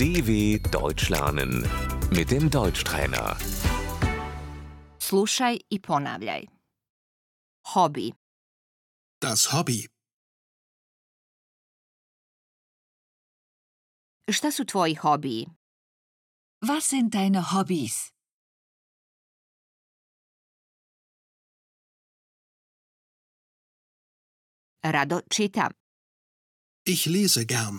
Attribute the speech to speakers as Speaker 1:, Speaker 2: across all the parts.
Speaker 1: DW Deutsch lernen mit dem Deutschtrainer.
Speaker 2: Slušaj i ponavljaj. Hobi,
Speaker 3: Das Hobby.
Speaker 2: šta su tvoji hobiji?
Speaker 4: Was sind deine Hobbys?
Speaker 2: Rado čitam.
Speaker 3: Ich lese gern.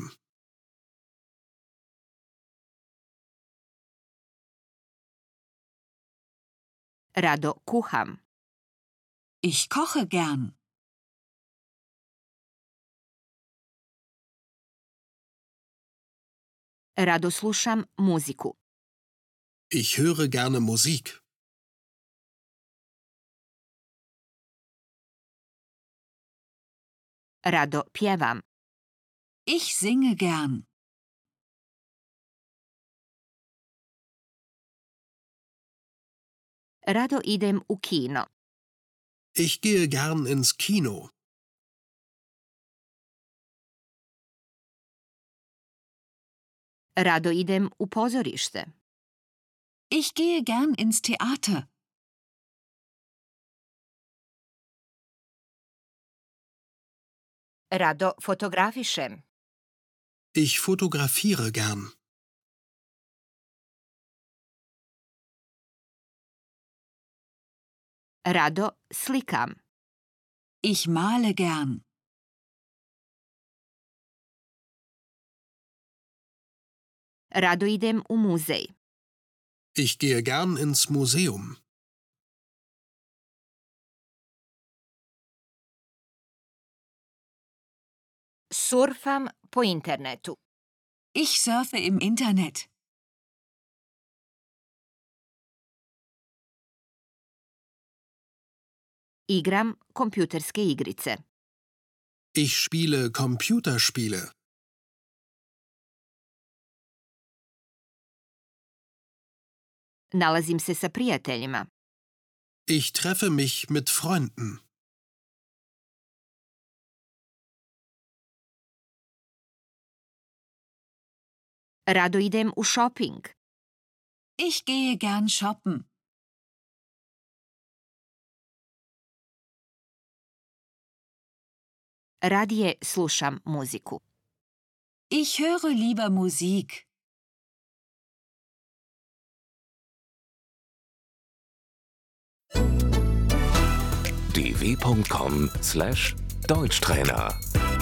Speaker 2: Rado kuham.
Speaker 4: Ich koche gern.
Speaker 2: Rado slušam muziku.
Speaker 3: Ich höre gerne Musik.
Speaker 2: Rado pjevam.
Speaker 4: Ich singe gern.
Speaker 2: Rado idem u kino.
Speaker 3: Ich gehe gern ins Kino.
Speaker 2: Rado idem u pozorište.
Speaker 4: Ich gehe gern ins Theater.
Speaker 2: Rado fotografišem.
Speaker 3: Ich fotografiere gern.
Speaker 2: Rado slikam.
Speaker 4: Ich male gern.
Speaker 2: Rado idem u muzej.
Speaker 3: Ich gehe gern ins Museum.
Speaker 2: Surfam po internetu.
Speaker 4: Ich surfe im Internet.
Speaker 2: Igram kompjuterske igrice.
Speaker 3: Ich spiele Computerspiele.
Speaker 2: Nalazim se sa prijateljima.
Speaker 3: Ich treffe mich mit Freunden.
Speaker 2: Rado idem u shopping.
Speaker 4: Ich gehe gern shoppen.
Speaker 2: Radije slušam muziku.
Speaker 4: Ich höre lieber Musik.
Speaker 1: dw.com/deutschtrainer